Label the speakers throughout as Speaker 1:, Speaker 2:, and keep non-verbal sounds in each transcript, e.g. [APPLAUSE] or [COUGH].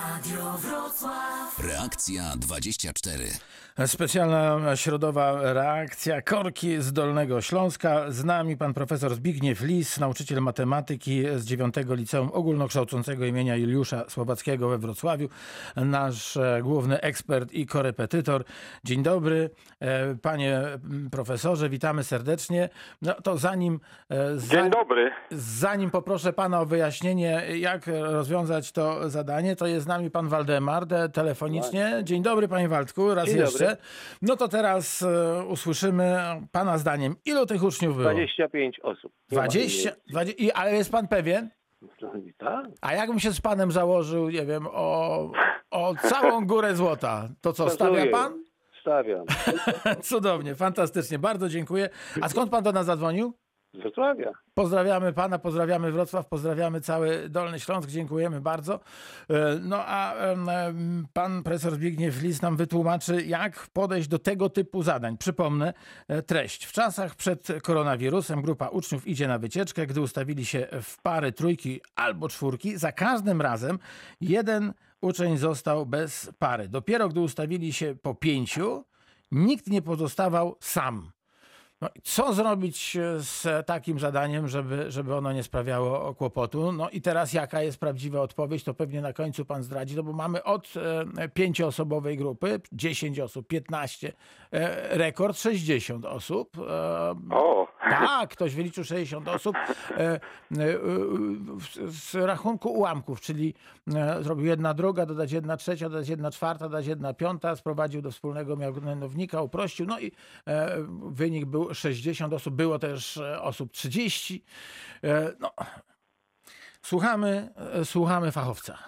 Speaker 1: Radio Wrocław.
Speaker 2: Reakcja 24.
Speaker 3: Specjalna środowa reakcja Korki z Dolnego Śląska. Z nami pan profesor Zbigniew Lis, nauczyciel matematyki z 9 Liceum Ogólnokształcącego imienia Juliusza Słowackiego we Wrocławiu. Nasz e, główny ekspert i korepetytor. Dzień dobry, e, panie m, profesorze, witamy serdecznie. No to zanim... e,
Speaker 4: Dzień
Speaker 3: zanim-
Speaker 4: dobry.
Speaker 3: Zanim poproszę pana o wyjaśnienie, jak rozwiązać to zadanie, to jest z nami pan Waldemar de, telefonicznie. Dzień dobry, panie Waldku, raz
Speaker 5: Dzień dobry.
Speaker 3: jeszcze. No to teraz e, usłyszymy pana zdaniem, ilu tych uczniów było?
Speaker 5: 25 osób. Nie ma
Speaker 3: 20, 20 i, ale jest pan pewien?
Speaker 5: imienia. Tak?
Speaker 3: A jakbym się z panem założył, nie wiem, o, o całą górę złota, to co, stawia
Speaker 5: Szacuję.
Speaker 3: pan?
Speaker 5: Stawiam.
Speaker 3: Cudownie, fantastycznie, bardzo dziękuję. A skąd pan do nas zadzwonił?
Speaker 5: Z Wrocławia.
Speaker 3: Pozdrawiamy pana, pozdrawiamy Wrocław, pozdrawiamy cały Dolny Śląsk, dziękujemy bardzo. E, No a em, em, pan profesor Zbigniew Lis nam wytłumaczy, jak podejść do tego typu zadań. Przypomnę e, treść. W czasach przed koronawirusem grupa uczniów idzie na wycieczkę, gdy ustawili się w pary trójki albo czwórki, za każdym razem jeden uczeń został bez pary. Dopiero gdy ustawili się po pięciu, nikt nie pozostawał sam. No, i co zrobić e, z takim zadaniem, żeby, żeby ono nie sprawiało kłopotu? No i teraz jaka jest prawdziwa odpowiedź, to pewnie na końcu pan zdradzi, no bo mamy od e, pięcioosobowej grupy, 10 osób, 15, e, rekord 60 osób. E,
Speaker 4: O,
Speaker 3: tak, ktoś wyliczył 60 osób e, e, e, w- z rachunku ułamków, czyli e, zrobił jedna druga, dodać jedna trzecia, dodać jedna czwarta, dodać jedna piąta, sprowadził do wspólnego mianownika, uprościł, no i e, wynik był 60 osób, było też e, osób 30. E, no. Słuchamy, e, słuchamy fachowca.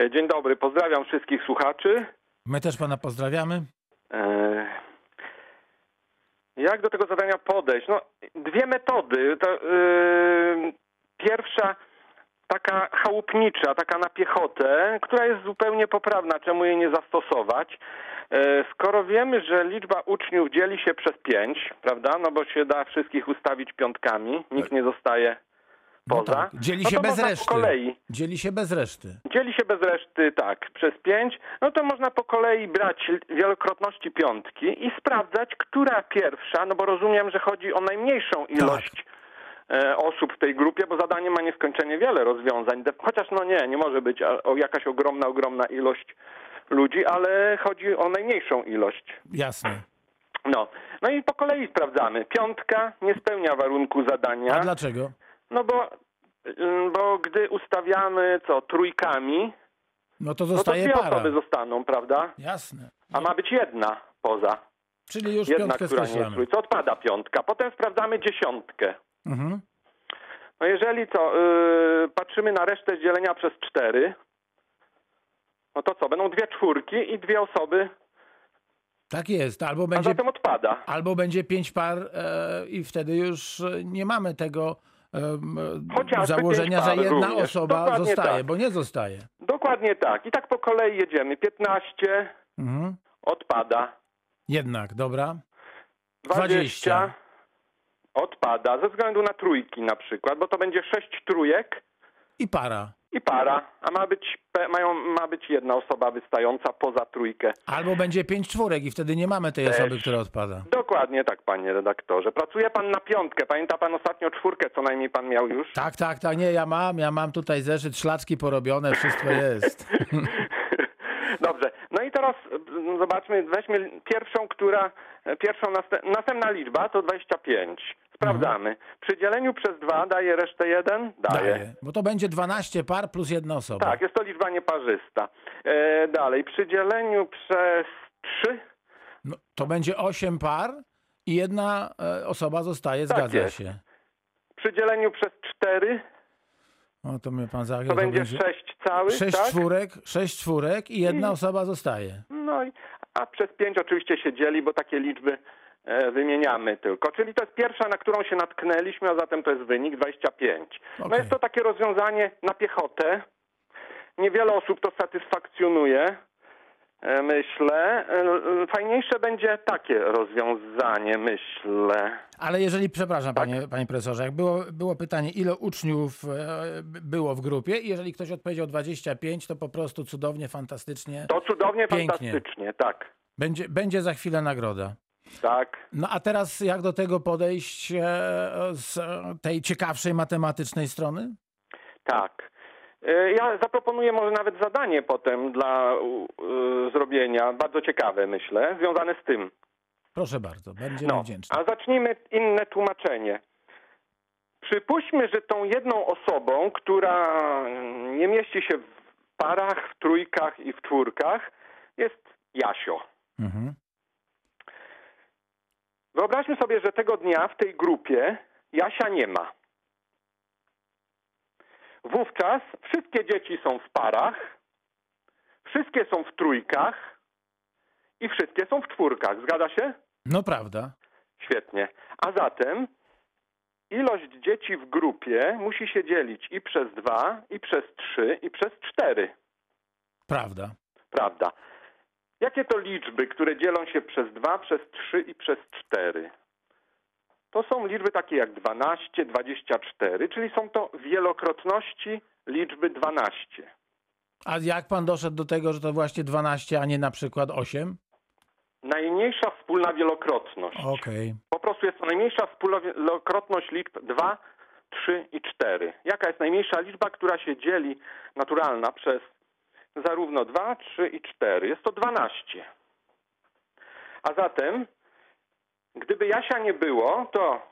Speaker 4: e, dzień dobry. Pozdrawiam wszystkich słuchaczy.
Speaker 3: My też pana pozdrawiamy.
Speaker 4: E, Jak do tego zadania podejść? No, dwie metody. To, yy, pierwsza taka chałupnicza, taka na piechotę, która jest zupełnie poprawna, czemu jej nie zastosować. E, Skoro wiemy, że liczba uczniów dzieli się przez pięć, prawda? No bo się da wszystkich ustawić piątkami, nikt nie zostaje
Speaker 3: Tak. No
Speaker 4: poza.
Speaker 3: tak, dzieli
Speaker 4: no
Speaker 3: się
Speaker 4: to
Speaker 3: bez
Speaker 4: można
Speaker 3: reszty.
Speaker 4: Po kolei.
Speaker 3: Dzieli się bez reszty.
Speaker 4: Dzieli się bez reszty, tak, przez pięć, no to można po kolei brać l- wielokrotności piątki i sprawdzać, która pierwsza, no bo rozumiem, że chodzi o najmniejszą ilość e, osób w tej grupie, bo zadanie ma nieskończenie wiele rozwiązań, De- chociaż no nie, nie może być a- o jakaś ogromna, ogromna ilość ludzi, ale chodzi o najmniejszą ilość.
Speaker 3: Jasne.
Speaker 4: No, no i po kolei sprawdzamy. Piątka nie spełnia warunku zadania.
Speaker 3: A dlaczego?
Speaker 4: No bo, y, bo gdy ustawiamy, co, trójkami,
Speaker 3: No to
Speaker 4: no to
Speaker 3: zostaje
Speaker 4: dwie
Speaker 3: para.
Speaker 4: osoby zostaną, prawda?
Speaker 3: Jasne.
Speaker 4: A ma być jedna poza.
Speaker 3: Czyli już
Speaker 4: Jedna,
Speaker 3: piątkę
Speaker 4: która nie jest
Speaker 3: skreślamy.
Speaker 4: trójca. Odpada piątka. Potem sprawdzamy dziesiątkę.
Speaker 3: Mhm.
Speaker 4: No jeżeli co, yy, patrzymy na resztę dzielenia przez cztery, no to co, będą dwie czwórki i dwie osoby,
Speaker 3: Tak jest, albo
Speaker 4: a
Speaker 3: będzie,
Speaker 4: zatem odpada.
Speaker 3: albo będzie pięć par e, i wtedy już e, nie mamy tego em, e,
Speaker 4: Chociażby
Speaker 3: założenia,
Speaker 4: pięć
Speaker 3: że
Speaker 4: par
Speaker 3: jedna
Speaker 4: również.
Speaker 3: osoba
Speaker 4: Dokładnie
Speaker 3: zostaje,
Speaker 4: tak.
Speaker 3: bo nie zostaje.
Speaker 4: Dokładnie tak. I tak po kolei jedziemy. 15
Speaker 3: Mhm.
Speaker 4: odpada.
Speaker 3: Jednak, dobra.
Speaker 4: 20 odpada. Ze względu na trójki na przykład, bo to będzie sześć trójek.
Speaker 3: I para.
Speaker 4: I para, a ma być, pe- mają, ma być jedna osoba wystająca poza trójkę.
Speaker 3: Albo będzie pięć czwórek i wtedy nie mamy tej
Speaker 4: Też.
Speaker 3: osoby, która odpada.
Speaker 4: Dokładnie tak, panie redaktorze. Pracuje pan na piątkę. Pamięta pan ostatnio czwórkę, co najmniej pan miał już?
Speaker 3: Tak, tak, tak, nie, ja mam, ja mam tutaj zeszyt, szlacki porobione, wszystko
Speaker 4: [LAUGHS]
Speaker 3: jest.
Speaker 4: Dobrze. No i teraz mm, zobaczmy, weźmy pierwszą, która, e, pierwszą, naste- następna liczba to 25. Sprawdzamy. Przy dzieleniu przez dwa daje resztę jeden? Daje.
Speaker 3: Daję. Bo to będzie 12 par plus jedna osoba.
Speaker 4: Tak, jest to liczba nieparzysta. E, dalej, przy dzieleniu przez trzy
Speaker 3: No, to będzie 8 par i jedna e, osoba zostaje,
Speaker 4: Tak
Speaker 3: zgadza
Speaker 4: jest.
Speaker 3: się.
Speaker 4: przy dzieleniu przez cztery
Speaker 3: O, to mnie pan zagrał.
Speaker 4: to będzie sześć całych,
Speaker 3: Sześć
Speaker 4: tak? Mm.
Speaker 3: czwórek, sześć czwórek i jedna osoba zostaje.
Speaker 4: No i, a przez pięć oczywiście się dzieli, bo takie liczby e, wymieniamy tylko. Czyli to jest pierwsza, na którą się natknęliśmy, a zatem to jest wynik 25. No
Speaker 3: Okej.
Speaker 4: jest to takie rozwiązanie na piechotę. Niewiele osób to satysfakcjonuje. E, Myślę. E, e, Fajniejsze będzie takie rozwiązanie, myślę.
Speaker 3: Ale jeżeli, przepraszam
Speaker 4: Tak.
Speaker 3: panie, panie profesorze, jak było, było pytanie, ile uczniów e, b- było w grupie i jeżeli ktoś odpowiedział 25, to po prostu cudownie, fantastycznie.
Speaker 4: To cudownie,
Speaker 3: Pięknie.
Speaker 4: fantastycznie, tak.
Speaker 3: Będzie, będzie za chwilę nagroda.
Speaker 4: Tak.
Speaker 3: No a teraz jak do tego podejść e, z e, tej ciekawszej matematycznej strony?
Speaker 4: Tak. E, Ja zaproponuję może nawet zadanie potem dla u- e, zrobienia, bardzo ciekawe myślę, związane z tym.
Speaker 3: Proszę bardzo, będziemy
Speaker 4: No,
Speaker 3: wdzięczni.
Speaker 4: a zacznijmy inne tłumaczenie. Przypuśćmy, że tą jedną osobą, która nie mieści się w parach, w trójkach i w czwórkach, jest Jasio.
Speaker 3: Mhm.
Speaker 4: Wyobraźmy sobie, że tego dnia w tej grupie Jasia nie ma. Wówczas wszystkie dzieci są w parach, wszystkie są w trójkach i wszystkie są w czwórkach. Zgadza się?
Speaker 3: No prawda.
Speaker 4: Świetnie. A zatem ilość dzieci w grupie musi się dzielić i przez dwa, i przez trzy, i przez cztery.
Speaker 3: Prawda.
Speaker 4: Prawda. Jakie to liczby, które dzielą się przez 2, przez 3 i przez 4? To są liczby takie jak 12, 24, czyli są to wielokrotności liczby 12.
Speaker 3: A jak pan doszedł do tego, że to właśnie 12, a nie na przykład 8?
Speaker 4: Najmniejsza wspólna wielokrotność.
Speaker 3: Okej.
Speaker 4: Po prostu jest to najmniejsza wspólna wielokrotność liczb 2, 3 i 4. Jaka jest najmniejsza liczba, która się dzieli naturalna przez zarówno 2, 3 i 4? Jest to 12. A zatem, gdyby Jasia nie było, to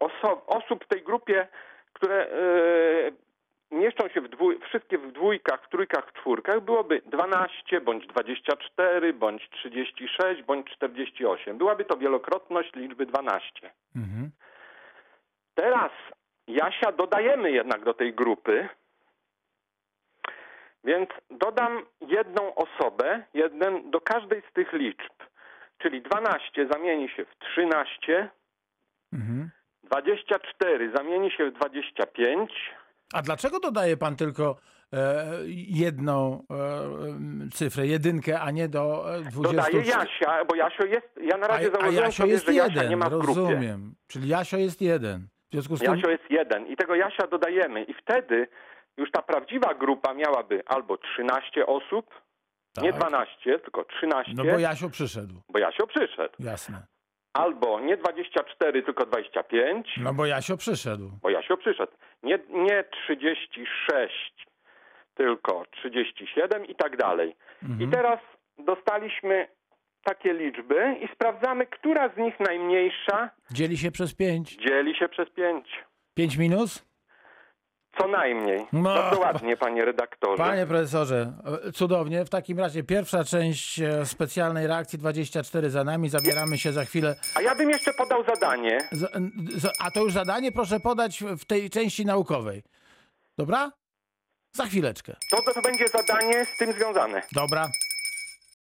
Speaker 4: oso- osób w tej grupie, które yy, mieszczą się w dwój- wszystkie w dwójkach, w trójkach, w czwórkach, byłoby 12, bądź 24, bądź 36, bądź 48. Byłaby to wielokrotność liczby 12.
Speaker 3: Mhm.
Speaker 4: Teraz Jasia dodajemy jednak do tej grupy, więc dodam jedną osobę, jeden do każdej z tych liczb, czyli 12 zamieni się w 13,
Speaker 3: Mhm.
Speaker 4: 24 zamieni się w 25,
Speaker 3: A dlaczego dodaje pan tylko e, jedną e, m, cyfrę, jedynkę, a nie do e, 20?
Speaker 4: Dodaję No tak, Jasia, bo Jasio jest, ja na
Speaker 3: A,
Speaker 4: razie
Speaker 3: a
Speaker 4: założyłem
Speaker 3: Jasio
Speaker 4: sobie,
Speaker 3: jest
Speaker 4: że Jasia
Speaker 3: jeden,
Speaker 4: nie ma w grupie.
Speaker 3: rozumiem. Czyli Jasio jest jeden. W związku z tym
Speaker 4: Jasio jest jeden i tego Jasia dodajemy i wtedy już ta prawdziwa grupa miałaby albo 13 osób, nie
Speaker 3: Tak.
Speaker 4: 12, tylko 13,
Speaker 3: No bo Jasio przyszedł,
Speaker 4: bo Jasio przyszedł.
Speaker 3: jasne.
Speaker 4: Albo nie 24, tylko 25,
Speaker 3: No bo Jasio przyszedł.
Speaker 4: bo Jasio przyszedł. Nie, nie 36, tylko 37 i tak dalej.
Speaker 3: Mhm.
Speaker 4: I teraz dostaliśmy takie liczby i sprawdzamy, która z nich najmniejsza
Speaker 3: Dzieli się przez pięć.
Speaker 4: Dzieli się przez pięć.
Speaker 3: Pięć minus?
Speaker 4: Co najmniej.
Speaker 3: No.
Speaker 4: Bardzo ładnie, panie redaktorze.
Speaker 3: Panie profesorze, e, cudownie. W takim razie pierwsza część e, specjalnej reakcji 24 za nami. Zabieramy się za chwilę.
Speaker 4: A ja bym jeszcze podał zadanie.
Speaker 3: Za- n- za- A to już zadanie proszę podać w tej części naukowej. Dobra? Za chwileczkę.
Speaker 4: To, to będzie zadanie z tym związane.
Speaker 3: Dobra.